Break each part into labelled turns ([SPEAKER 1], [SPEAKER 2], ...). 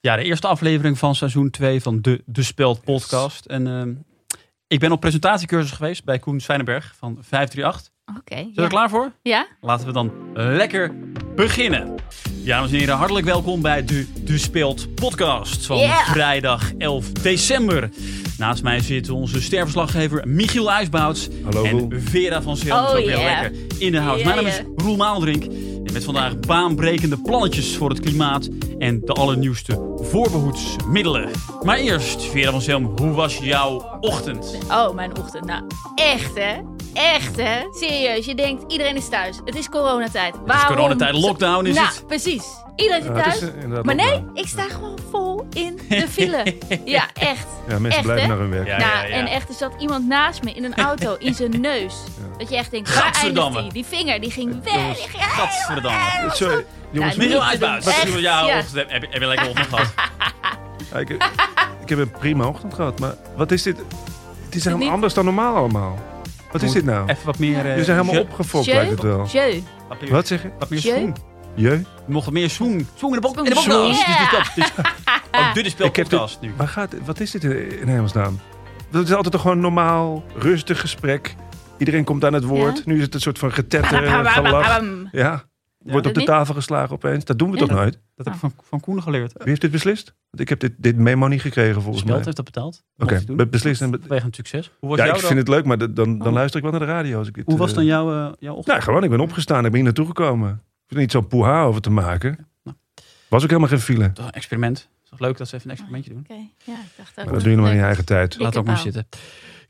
[SPEAKER 1] Ja, de eerste aflevering van seizoen 2 van de, de Speld podcast. En ehm, ik ben op presentatiecursus geweest bij Koen Swijnenberg van 538.
[SPEAKER 2] Oké.
[SPEAKER 1] Zijn we er
[SPEAKER 2] ja.
[SPEAKER 1] klaar voor?
[SPEAKER 2] Ja?
[SPEAKER 1] Laten we dan lekker beginnen. Ja, dames en heren, hartelijk welkom bij de Du Speelt podcast van
[SPEAKER 2] Yeah.
[SPEAKER 1] vrijdag 11 december. Naast mij zit onze sterverslaggever Michiel IJsbouts
[SPEAKER 3] Hallo,
[SPEAKER 1] en
[SPEAKER 3] Roel.
[SPEAKER 1] Vera van Zeel.
[SPEAKER 2] Oh,
[SPEAKER 1] is ook heel
[SPEAKER 2] yeah.
[SPEAKER 1] lekker in de house. Mijn naam is
[SPEAKER 2] Yeah,
[SPEAKER 1] Roel Maaldrink. En met vandaag baanbrekende plannetjes voor het klimaat en de allernieuwste voorbehoedsmiddelen. Maar eerst, Vera van Zelm, hoe was jouw ochtend?
[SPEAKER 2] Oh, mijn ochtend. Nou, echt hè? Echt hè? Serieus, je denkt iedereen is thuis. Het is coronatijd. Het
[SPEAKER 1] coronatijd, lockdown is
[SPEAKER 2] nou,
[SPEAKER 1] het.
[SPEAKER 2] precies. Iedereen zit
[SPEAKER 3] Ja, het
[SPEAKER 2] thuis.
[SPEAKER 3] is, eh, inderdaad
[SPEAKER 2] maar nee,
[SPEAKER 3] lockdown.
[SPEAKER 2] ik sta gewoon vol in de file. ja, echt.
[SPEAKER 3] Ja, mensen
[SPEAKER 2] Echt,
[SPEAKER 3] blijven
[SPEAKER 2] hè?
[SPEAKER 3] naar hun werk.
[SPEAKER 1] Ja,
[SPEAKER 2] nou,
[SPEAKER 1] ja, ja.
[SPEAKER 2] en echt, er zat iemand naast me in een auto, in zijn neus. Dat je echt denkt, waar
[SPEAKER 1] Gadverdamme.
[SPEAKER 2] eindigt die? Die vinger, die ging weg. Die ging
[SPEAKER 1] Gadverdamme.
[SPEAKER 2] helemaal-
[SPEAKER 3] Sorry, jongens.
[SPEAKER 2] Ja, Eh, niet
[SPEAKER 1] Michiel
[SPEAKER 2] te doen.
[SPEAKER 1] IJsbouts,
[SPEAKER 2] Echt,
[SPEAKER 1] hoe was jouw
[SPEAKER 2] ja.
[SPEAKER 1] ochtend? Heb, heb je lekker ochtend gehad?
[SPEAKER 3] ja, ik, eh, ik heb een prima ochtend gehad, maar wat is dit? Het is helemaal
[SPEAKER 2] Niet-
[SPEAKER 3] anders dan normaal allemaal. Wat is dit nou?
[SPEAKER 1] Even wat meer... eh,
[SPEAKER 3] Jullie zijn helemaal
[SPEAKER 1] je-
[SPEAKER 3] opgefokt,
[SPEAKER 2] Jeu?
[SPEAKER 3] lijkt het wel.
[SPEAKER 2] Jeu.
[SPEAKER 1] Wat meer-
[SPEAKER 3] Wat zeg je?
[SPEAKER 1] Wat meer
[SPEAKER 2] Jeu?
[SPEAKER 1] schoen?
[SPEAKER 3] Jeu?
[SPEAKER 1] Nog meer zoen. Zoen in de bok. In de
[SPEAKER 2] Zoen.
[SPEAKER 1] podcast. Dit
[SPEAKER 2] Ja.
[SPEAKER 1] is de Oh, dit is
[SPEAKER 3] Ik heb
[SPEAKER 1] podcast nu.
[SPEAKER 3] Waar gaat, wat is dit in in hemelsnaam? Dat is altijd toch gewoon normaal, rustig gesprek. Iedereen komt aan het woord.
[SPEAKER 2] Ja.
[SPEAKER 3] Nu is het een soort van getetter,
[SPEAKER 2] Bam, bam,
[SPEAKER 3] en
[SPEAKER 2] bam,
[SPEAKER 3] gelach.
[SPEAKER 2] bam.
[SPEAKER 3] Ja, wordt
[SPEAKER 2] dat
[SPEAKER 3] op de
[SPEAKER 2] niet?
[SPEAKER 3] tafel geslagen opeens. Dat doen we
[SPEAKER 2] Ja.
[SPEAKER 3] toch nooit?
[SPEAKER 1] Dat heb ik van, van Koen geleerd.
[SPEAKER 3] Wie heeft dit beslist? Want ik heb dit, dit memo niet gekregen volgens mij.
[SPEAKER 1] Speld
[SPEAKER 3] Oké,
[SPEAKER 1] heeft dat betaald. Mocht je
[SPEAKER 3] be-
[SPEAKER 1] doen.
[SPEAKER 3] beslist. en be-
[SPEAKER 1] Vanwege een succes. Hoe was
[SPEAKER 3] Ja,
[SPEAKER 1] jouw
[SPEAKER 3] ik
[SPEAKER 1] dag?
[SPEAKER 3] vind het leuk, maar dat- dan, dan
[SPEAKER 1] Oh.
[SPEAKER 3] luister ik wel naar de radio. Als ik dit,
[SPEAKER 1] Hoe was
[SPEAKER 3] eh,
[SPEAKER 1] dan jouw, eh, jouw ochtend?
[SPEAKER 3] Nou, gewoon. Ik ben opgestaan. Ik ben hier naartoe gekomen. Ik hoef er niet zo'n poeha over te maken.
[SPEAKER 1] Nou.
[SPEAKER 3] Was ook helemaal geen file.
[SPEAKER 1] Het was een experiment. Het is toch leuk dat ze even een experimentje doen.
[SPEAKER 2] Oké, ja, ik dacht ook.
[SPEAKER 3] Maar dat doe je nog maar in je eigen tijd.
[SPEAKER 2] Dikke
[SPEAKER 1] Laat ook maar
[SPEAKER 2] paal.
[SPEAKER 1] zitten.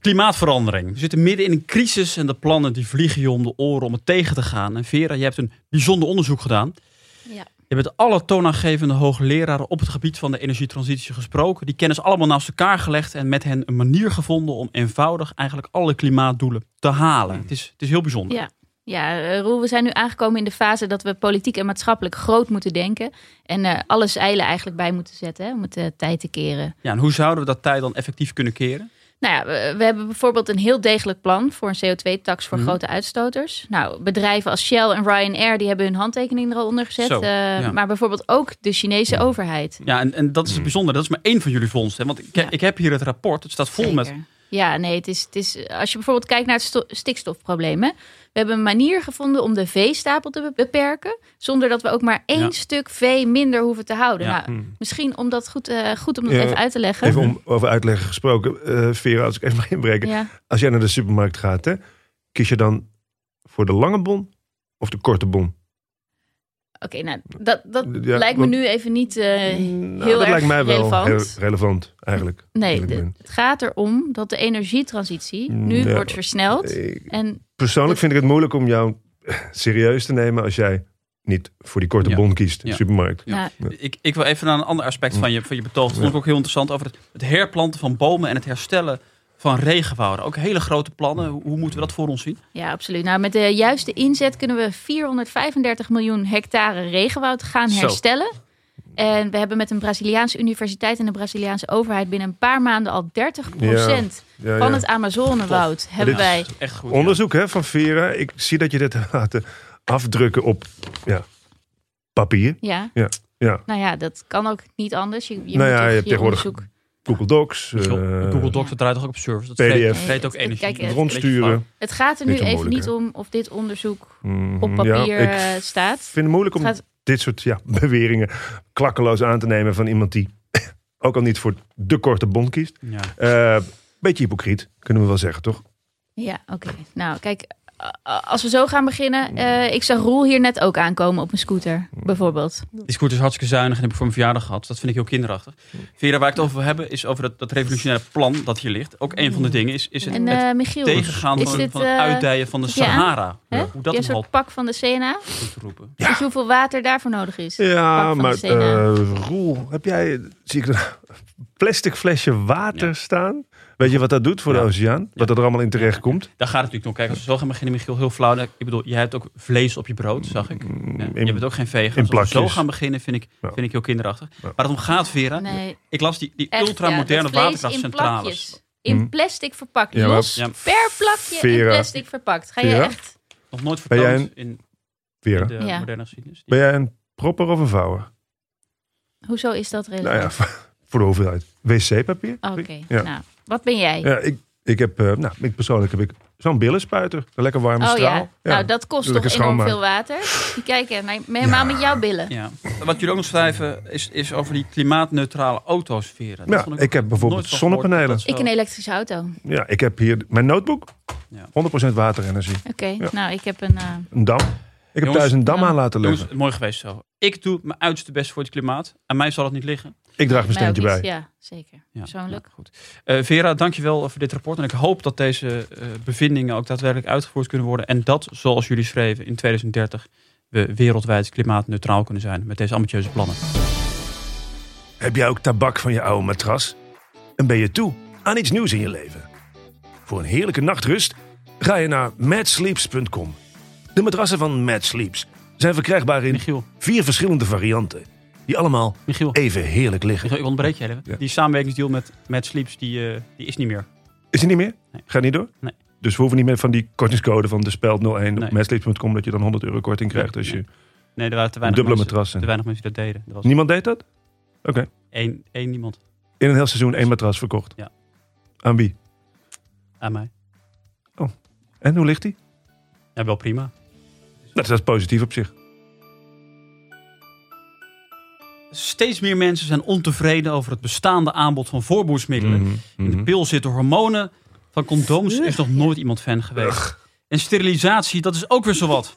[SPEAKER 1] Klimaatverandering. We zitten midden in een crisis en de plannen die vliegen je om de oren om het tegen te gaan. En Vera, jij hebt een bijzonder onderzoek gedaan.
[SPEAKER 2] Ja.
[SPEAKER 1] Je bent alle toonaangevende hoogleraren op het gebied van de energietransitie gesproken. Die kennis allemaal naast elkaar gelegd en met hen een manier gevonden om eenvoudig eigenlijk alle klimaatdoelen te halen. Het is, het is heel bijzonder.
[SPEAKER 2] Ja. Ja, eh, Roel, we zijn nu aangekomen in de fase dat we politiek en maatschappelijk groot moeten denken. En eh, alle zeilen eigenlijk bij moeten zetten hè, om het eh, tijd te keren.
[SPEAKER 1] Ja, en hoe zouden we dat tijd dan effectief kunnen keren?
[SPEAKER 2] Nou ja, we, we hebben bijvoorbeeld een heel degelijk plan voor een CO2-tax voor
[SPEAKER 1] Mhm.
[SPEAKER 2] grote uitstoters. Nou, bedrijven als Shell en Ryanair die hebben hun handtekening er al onder gezet.
[SPEAKER 1] Zo,
[SPEAKER 2] eh,
[SPEAKER 1] ja.
[SPEAKER 2] Maar bijvoorbeeld ook de Chinese overheid.
[SPEAKER 1] Ja, en, en dat is het bijzondere. Dat is maar één van jullie vondsten. hè? Want ik,
[SPEAKER 2] Ja.
[SPEAKER 1] ik heb hier het rapport. Het staat vol met...
[SPEAKER 2] Zeker. Ja, nee, het is, het is, als je bijvoorbeeld kijkt naar het sto- stikstofprobleem. Hè? We hebben een manier gevonden om de veestapel te be- beperken. Zonder dat we ook maar één
[SPEAKER 1] Ja.
[SPEAKER 2] stuk vee minder hoeven te houden.
[SPEAKER 3] Hm.
[SPEAKER 1] Ja.
[SPEAKER 2] Nou, misschien om dat goed, eh, goed om dat
[SPEAKER 3] Ja.
[SPEAKER 2] even uit te leggen.
[SPEAKER 3] Even om over uitleggen gesproken. eh, Vera, als ik even mag inbreken.
[SPEAKER 2] Ja.
[SPEAKER 3] Als jij naar de supermarkt gaat, hè, kies je dan voor de lange bon of de korte bon?
[SPEAKER 2] Oké, nou, dat, dat
[SPEAKER 3] Ja,
[SPEAKER 2] lijkt me
[SPEAKER 3] want-
[SPEAKER 2] nu even niet... eh,
[SPEAKER 3] Nou,
[SPEAKER 2] heel
[SPEAKER 3] dat
[SPEAKER 2] erg
[SPEAKER 3] lijkt mij wel
[SPEAKER 2] relevant.
[SPEAKER 3] heel relevant, eigenlijk.
[SPEAKER 2] nee,
[SPEAKER 3] eerlijk
[SPEAKER 2] de-
[SPEAKER 3] ben. Mm,
[SPEAKER 2] het gaat erom dat de energietransitie nu
[SPEAKER 3] Ja.
[SPEAKER 2] wordt versneld.
[SPEAKER 3] Ik-
[SPEAKER 2] En
[SPEAKER 3] Persoonlijk vind ik het moeilijk om jou serieus te nemen als jij niet voor die korte
[SPEAKER 1] Ja.
[SPEAKER 3] bon kiest in
[SPEAKER 1] Ja.
[SPEAKER 3] de supermarkt.
[SPEAKER 1] Ja.
[SPEAKER 2] nou,
[SPEAKER 1] Ik, ik wil even naar een ander aspect van je, van je betoog. Dat vond ik ook heel interessant over het, het herplanten van bomen en het herstellen van regenwouden. Ook hele grote plannen. Hoe, hoe moeten we dat voor ons zien?
[SPEAKER 2] ja, absoluut. Nou, met de juiste inzet kunnen we 435 miljoen hectare regenwoud gaan
[SPEAKER 1] Zo.
[SPEAKER 2] herstellen. En we hebben met een Braziliaanse universiteit en de Braziliaanse overheid binnen een paar maanden al 30%
[SPEAKER 3] Ja,
[SPEAKER 2] van
[SPEAKER 3] ja.
[SPEAKER 2] het Amazonewoud hebben
[SPEAKER 3] Dit is-
[SPEAKER 2] wij.
[SPEAKER 1] Echt goed. ja.
[SPEAKER 3] Onderzoek hè, van Vera. Ik zie dat je dit hebt laten afdrukken op ja, papier.
[SPEAKER 2] Ja.
[SPEAKER 3] Ja,
[SPEAKER 2] Nou ja, dat kan ook niet anders. Je, je moet
[SPEAKER 3] Nou ja,
[SPEAKER 2] toch
[SPEAKER 3] je hebt tegenwoordig
[SPEAKER 2] onderzoek-
[SPEAKER 3] Google Docs, eh,
[SPEAKER 1] Michiel, Google Docs dat draait toch ook op service? Dat
[SPEAKER 3] PDF.
[SPEAKER 1] vreet- vreet ook
[SPEAKER 2] Nee,
[SPEAKER 1] energie.
[SPEAKER 2] kijk,
[SPEAKER 1] Dat is een beetje
[SPEAKER 3] rondsturen.
[SPEAKER 2] Het gaat er nu
[SPEAKER 3] Niet zo
[SPEAKER 2] even
[SPEAKER 3] moeilijk,
[SPEAKER 2] niet
[SPEAKER 3] hè?
[SPEAKER 2] om of dit onderzoek
[SPEAKER 3] Mm,
[SPEAKER 2] op papier
[SPEAKER 3] Ja,
[SPEAKER 2] eh,
[SPEAKER 3] ik
[SPEAKER 2] staat.
[SPEAKER 3] vind het moeilijk om
[SPEAKER 2] Het gaat-
[SPEAKER 3] dit soort ja, beweringen klakkeloos aan te nemen van iemand die ook al niet voor de korte bon kiest.
[SPEAKER 1] vaag.
[SPEAKER 2] Oh,
[SPEAKER 1] Ja.
[SPEAKER 3] Eh, beetje hypocriet, kunnen we wel zeggen, toch?
[SPEAKER 2] Ja, oké. Nou, kijk, a- a- als we zo gaan beginnen.
[SPEAKER 3] Mm.
[SPEAKER 2] eh, ik zag Roel hier net ook aankomen op een scooter, bijvoorbeeld.
[SPEAKER 1] Die scooter is hartstikke zuinig en heb ik voor mijn verjaardag gehad. Dus dat vind ik heel kinderachtig. Vera, waar ik het over wil hebben, is over dat, dat revolutionaire plan dat hier ligt. Ook een van de dingen is, is het,
[SPEAKER 2] En
[SPEAKER 1] het
[SPEAKER 2] eh Michiel,
[SPEAKER 1] tegengaan
[SPEAKER 2] is
[SPEAKER 1] van,
[SPEAKER 2] dit,
[SPEAKER 1] van het
[SPEAKER 2] eh,
[SPEAKER 1] uitdijen van de
[SPEAKER 2] heb je aan?
[SPEAKER 1] Sahara.
[SPEAKER 2] hè?
[SPEAKER 1] Hoe
[SPEAKER 2] je
[SPEAKER 1] dat
[SPEAKER 2] hebt
[SPEAKER 1] een
[SPEAKER 2] een
[SPEAKER 1] halt
[SPEAKER 2] soort pak van de CNA.
[SPEAKER 1] moet roepen.
[SPEAKER 2] Weet je Dus hoeveel water daarvoor nodig is? Pak
[SPEAKER 3] Ja,
[SPEAKER 2] van
[SPEAKER 3] maar
[SPEAKER 2] de Sena.
[SPEAKER 3] eh, Roel, heb jij, zie ik een plastic flesje water
[SPEAKER 1] Ja.
[SPEAKER 3] staan? Weet je wat dat doet voor
[SPEAKER 1] Ja.
[SPEAKER 3] de oceaan? Wat er allemaal in terecht komt?
[SPEAKER 1] Daar gaat het natuurlijk nog. Kijk, als we zo gaan beginnen, Michiel, heel flauw. Ik bedoel, jij hebt ook vlees op je brood, zag ik. Ja,
[SPEAKER 3] Mm, in-
[SPEAKER 1] je bent ook geen vegan.
[SPEAKER 3] in
[SPEAKER 1] Dus als we zo
[SPEAKER 3] plakjes.
[SPEAKER 1] gaan beginnen, vind ik,
[SPEAKER 3] Ja.
[SPEAKER 1] vind ik heel kinderachtig. Waar het om gaat, Vera.
[SPEAKER 2] Nee,
[SPEAKER 1] Ik las die, die
[SPEAKER 2] echt.
[SPEAKER 1] ultramoderne
[SPEAKER 2] ja, dat vlees in
[SPEAKER 1] waterkrachtcentrales.
[SPEAKER 2] plakjes. In
[SPEAKER 3] Hm.
[SPEAKER 2] plastic verpakt.
[SPEAKER 3] Ja, maar-
[SPEAKER 2] los
[SPEAKER 1] Ja.
[SPEAKER 2] per plakje in
[SPEAKER 3] Vera.
[SPEAKER 2] plastic verpakt. Ga je
[SPEAKER 3] Vera?
[SPEAKER 2] echt...
[SPEAKER 1] Nog nooit
[SPEAKER 3] Ben jij
[SPEAKER 1] vertoond in, in
[SPEAKER 3] Vera,
[SPEAKER 1] de
[SPEAKER 2] Ja.
[SPEAKER 1] moderne geschiedenis.
[SPEAKER 3] ben jij een propper of een vouwer?
[SPEAKER 2] Hoezo is dat relevant?
[SPEAKER 3] Nou ja, voor de hoeveelheid. Wc-papier.
[SPEAKER 2] Oké,
[SPEAKER 3] Ja.
[SPEAKER 2] nou, wat ben jij?
[SPEAKER 3] Ja, ik, ik heb, eh, nou, ik persoonlijk heb ik zo'n billenspuiter. Een lekker warme
[SPEAKER 2] oh
[SPEAKER 3] straal.
[SPEAKER 2] ja. nou dat kost toch
[SPEAKER 3] Lekker
[SPEAKER 2] enorm
[SPEAKER 3] schoonmaken.
[SPEAKER 2] veel water. Die kijken, maar helemaal met jouw billen.
[SPEAKER 1] Ja. Wat jullie ook nog schrijven is, is over die klimaatneutrale autosfeer. Dat
[SPEAKER 3] Ja,
[SPEAKER 1] vond
[SPEAKER 3] ik heb
[SPEAKER 1] ook
[SPEAKER 3] bijvoorbeeld
[SPEAKER 1] nooit van gehoord dat
[SPEAKER 3] zonnepanelen.
[SPEAKER 1] dat zo-
[SPEAKER 2] Ik een elektrische auto. Oké,
[SPEAKER 3] Ja, ik heb hier mijn notebook.
[SPEAKER 1] Ja.
[SPEAKER 3] 100% waterenergie. Ja.
[SPEAKER 2] nou ik heb een... eh,
[SPEAKER 3] Een dam. Ik heb
[SPEAKER 1] Jongens,
[SPEAKER 3] thuis een dam
[SPEAKER 2] nou,
[SPEAKER 3] aan laten
[SPEAKER 1] Jongens,
[SPEAKER 3] leggen.
[SPEAKER 1] mooi geweest zo. Ik doe mijn uiterste best voor het klimaat. Aan mij zal het niet liggen.
[SPEAKER 3] Ik draag mijn
[SPEAKER 2] mij ook
[SPEAKER 3] steentje
[SPEAKER 2] iets.
[SPEAKER 3] bij.
[SPEAKER 2] Ja, zeker.
[SPEAKER 1] Ja,
[SPEAKER 2] Persoonlijk.
[SPEAKER 1] ja, goed. Eh, Vera, dankjewel voor dit rapport. En ik hoop dat deze eh, bevindingen ook daadwerkelijk uitgevoerd kunnen worden. En dat, zoals jullie schreven, in 2030 we wereldwijd klimaatneutraal kunnen zijn met deze ambitieuze plannen.
[SPEAKER 3] Heb jij ook tabak van je oude matras? En ben je toe aan iets nieuws in je leven? Voor een heerlijke nachtrust ga je naar madsleeps.com. De matrassen van Mad Sleeps zijn verkrijgbaar in
[SPEAKER 1] Michiel,
[SPEAKER 3] vier verschillende varianten. Die allemaal
[SPEAKER 1] Michiel,
[SPEAKER 3] even heerlijk liggen.
[SPEAKER 1] Michiel, ik ontbreek je even.
[SPEAKER 3] Ja.
[SPEAKER 1] Die samenwerkingsdeal met, met Sleeps, die, eh, die is niet meer.
[SPEAKER 3] Is die niet meer?
[SPEAKER 1] Nee.
[SPEAKER 3] Gaat niet door?
[SPEAKER 1] Nee.
[SPEAKER 3] Dus we hoeven niet meer van die kortingscode van de speld 01
[SPEAKER 1] Nee.
[SPEAKER 3] op madsleeps.com dat je dan 100 euro korting krijgt als je
[SPEAKER 1] Nee. Nee, er waren te
[SPEAKER 3] een
[SPEAKER 1] weinig,
[SPEAKER 3] dubbele
[SPEAKER 1] mensen, te
[SPEAKER 3] matras... en-
[SPEAKER 1] weinig mensen die dat deden. Er was
[SPEAKER 3] Niemand deed dat? Oké.
[SPEAKER 1] één, één iemand
[SPEAKER 3] In een heel seizoen één matras verkocht?
[SPEAKER 1] Ja.
[SPEAKER 3] Aan wie?
[SPEAKER 1] aan mij.
[SPEAKER 3] En hoe ligt die?
[SPEAKER 1] Ja, wel prima.
[SPEAKER 3] Nou, dat is positief op zich.
[SPEAKER 1] Steeds meer mensen zijn ontevreden over het bestaande aanbod van voorboedsmiddelen.
[SPEAKER 3] Mhm.
[SPEAKER 1] In de pil zitten hormonen. Van condooms is nog nooit iemand fan geweest. En sterilisatie, dat is ook weer zowat.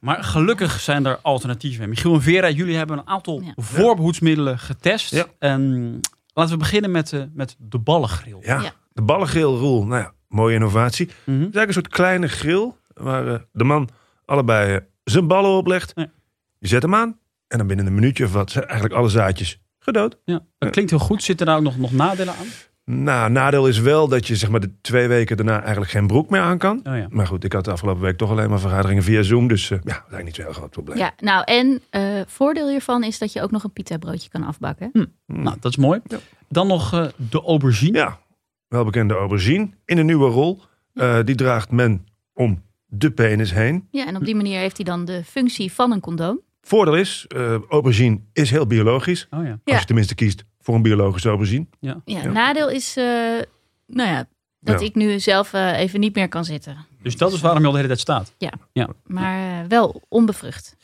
[SPEAKER 1] Maar gelukkig zijn er alternatieven. Michiel en Vera, jullie hebben een aantal
[SPEAKER 2] Ja.
[SPEAKER 1] voorbehoedsmiddelen getest.
[SPEAKER 3] Ja.
[SPEAKER 1] En laten we beginnen met, eh, met de ballengril.
[SPEAKER 3] Ja,
[SPEAKER 2] Ja.
[SPEAKER 3] de ballengrilrol. Nou ja, mooie innovatie. Het is
[SPEAKER 1] Mhm.
[SPEAKER 3] eigenlijk een soort kleine grill waar eh, de man allebei eh, zijn ballen oplegt.
[SPEAKER 1] Ja.
[SPEAKER 3] Je zet hem aan en dan binnen een minuutje of wat zijn eigenlijk alle zaadjes gedood.
[SPEAKER 1] Ja. Dat klinkt heel goed. Zitten daar ook nog, nog nadelen aan? Oh
[SPEAKER 3] Nou, nadeel is wel dat je zeg maar de twee weken daarna eigenlijk geen broek meer aan kan.
[SPEAKER 1] Oh ja.
[SPEAKER 3] Maar goed, ik had de afgelopen week toch alleen maar vergaderingen via Zoom. Dus eh, ja, eigenlijk niet zo'n heel groot probleem.
[SPEAKER 2] Ja, nou en eh, voordeel hiervan is dat je ook nog een pita broodje kan afbakken.
[SPEAKER 3] Hmm.
[SPEAKER 1] Nou, dat is mooi.
[SPEAKER 3] Ja.
[SPEAKER 1] Dan nog eh, de aubergine.
[SPEAKER 3] Ja, welbekende aubergine in een nieuwe rol. Eh, die draagt men om de penis heen.
[SPEAKER 2] Ja, en op die manier heeft hij dan de functie van een condoom.
[SPEAKER 3] Voordeel is, eh, aubergine is heel biologisch.
[SPEAKER 1] Oh ja.
[SPEAKER 2] Ja.
[SPEAKER 3] Als je tenminste kiest voor een biologische aubergine.
[SPEAKER 2] Ja,
[SPEAKER 3] Ja.
[SPEAKER 2] nadeel is, eh, nou ja, dat
[SPEAKER 3] Ja.
[SPEAKER 2] ik nu zelf eh, even niet meer kan zitten.
[SPEAKER 1] Dus dat is waarom je al de hele tijd staat.
[SPEAKER 2] Maar eh, wel onbevrucht.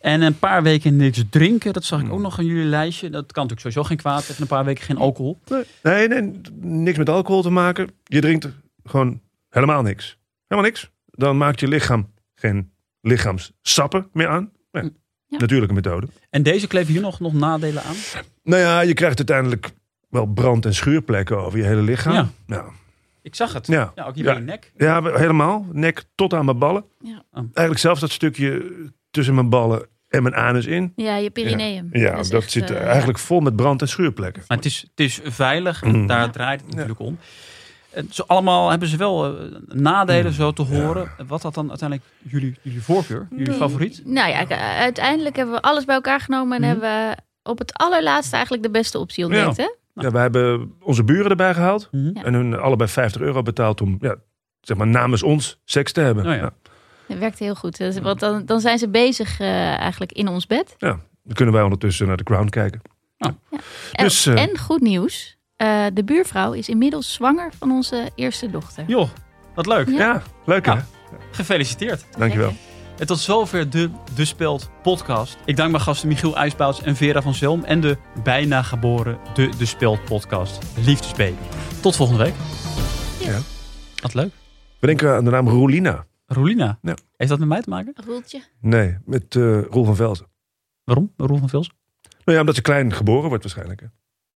[SPEAKER 1] En een paar weken niks drinken. Dat zag ik
[SPEAKER 3] Hmm.
[SPEAKER 1] ook nog aan jullie lijstje. Dat kan natuurlijk sowieso geen kwaad. Even een paar weken geen alcohol.
[SPEAKER 3] Nee, nee, niks met alcohol te maken. Je drinkt gewoon helemaal niks. Helemaal niks. Dan maakt je lichaam geen lichaamssappen meer aan. Nee,
[SPEAKER 2] Hm. Ja.
[SPEAKER 3] Natuurlijke methode.
[SPEAKER 1] En deze kleven hier nog, nog nadelen aan.
[SPEAKER 3] Nou ja, je krijgt uiteindelijk wel brand- en schuurplekken over je hele lichaam.
[SPEAKER 1] Ja.
[SPEAKER 3] Nou,
[SPEAKER 1] Ik zag het.
[SPEAKER 3] ja.
[SPEAKER 1] Ja, ook hier
[SPEAKER 3] Ja.
[SPEAKER 1] bij je nek.
[SPEAKER 3] Ja, helemaal. Nek tot aan mijn ballen.
[SPEAKER 2] Ja.
[SPEAKER 3] Eigenlijk zelfs dat stukje tussen mijn ballen en mijn anus in.
[SPEAKER 2] Ja, je perineum.
[SPEAKER 3] Ja, dat,
[SPEAKER 2] is echt,
[SPEAKER 3] zit
[SPEAKER 2] eh,
[SPEAKER 3] eigenlijk vol met brand- en schuurplekken.
[SPEAKER 1] Maar het is, het is veilig.
[SPEAKER 3] Mm.
[SPEAKER 1] Daar
[SPEAKER 2] Ja.
[SPEAKER 1] draait het natuurlijk om. En zo allemaal hebben ze wel eh,
[SPEAKER 3] Hmm.
[SPEAKER 1] nadelen zo te horen. Wat had dan uiteindelijk jullie, jullie voorkeur? Jullie
[SPEAKER 2] Nee.
[SPEAKER 1] favoriet?
[SPEAKER 2] Nou ja, ik- uiteindelijk hebben we alles bij elkaar genomen en
[SPEAKER 1] Mhm.
[SPEAKER 2] hebben we op het allerlaatste eigenlijk de beste optie ontdekt. hè?
[SPEAKER 3] Ja, we hebben onze buren erbij gehaald.
[SPEAKER 1] Mhm.
[SPEAKER 2] Ja.
[SPEAKER 3] En hun allebei 50 euro betaald om ja, zeg maar, namens ons seks te hebben.
[SPEAKER 1] Oh ja.
[SPEAKER 3] Nou,
[SPEAKER 2] Dat werkt heel goed. Dus- Want dan, dan zijn ze bezig eh, eigenlijk in ons bed.
[SPEAKER 3] dan kunnen wij ondertussen naar de ground kijken.
[SPEAKER 2] En,
[SPEAKER 3] Dus, eh,
[SPEAKER 2] en goed nieuws, eh, de buurvrouw is inmiddels zwanger van onze eerste dochter.
[SPEAKER 1] Joh, wat leuk.
[SPEAKER 2] Ja.
[SPEAKER 3] Ja, leuk hè?
[SPEAKER 1] Ja. Gefeliciteerd.
[SPEAKER 3] Dankjewel.
[SPEAKER 1] En tot zover de De Speld podcast. Ik dank mijn gasten Michiel IJsbouts en Vera van Zelm. En de bijna geboren De De Speld podcast. Liefdesbaby. Tot volgende week.
[SPEAKER 2] Ja.
[SPEAKER 3] Ja.
[SPEAKER 1] Wat leuk.
[SPEAKER 3] We denken aan de naam Roelina.
[SPEAKER 1] Roelina.
[SPEAKER 3] Ja.
[SPEAKER 1] Heeft dat met mij te maken?
[SPEAKER 2] Roeltje.
[SPEAKER 3] Nee, met eh Roel van Velzen.
[SPEAKER 1] Waarom? Roel van Vils?
[SPEAKER 3] Nou ja, omdat ze klein geboren wordt waarschijnlijk. hè.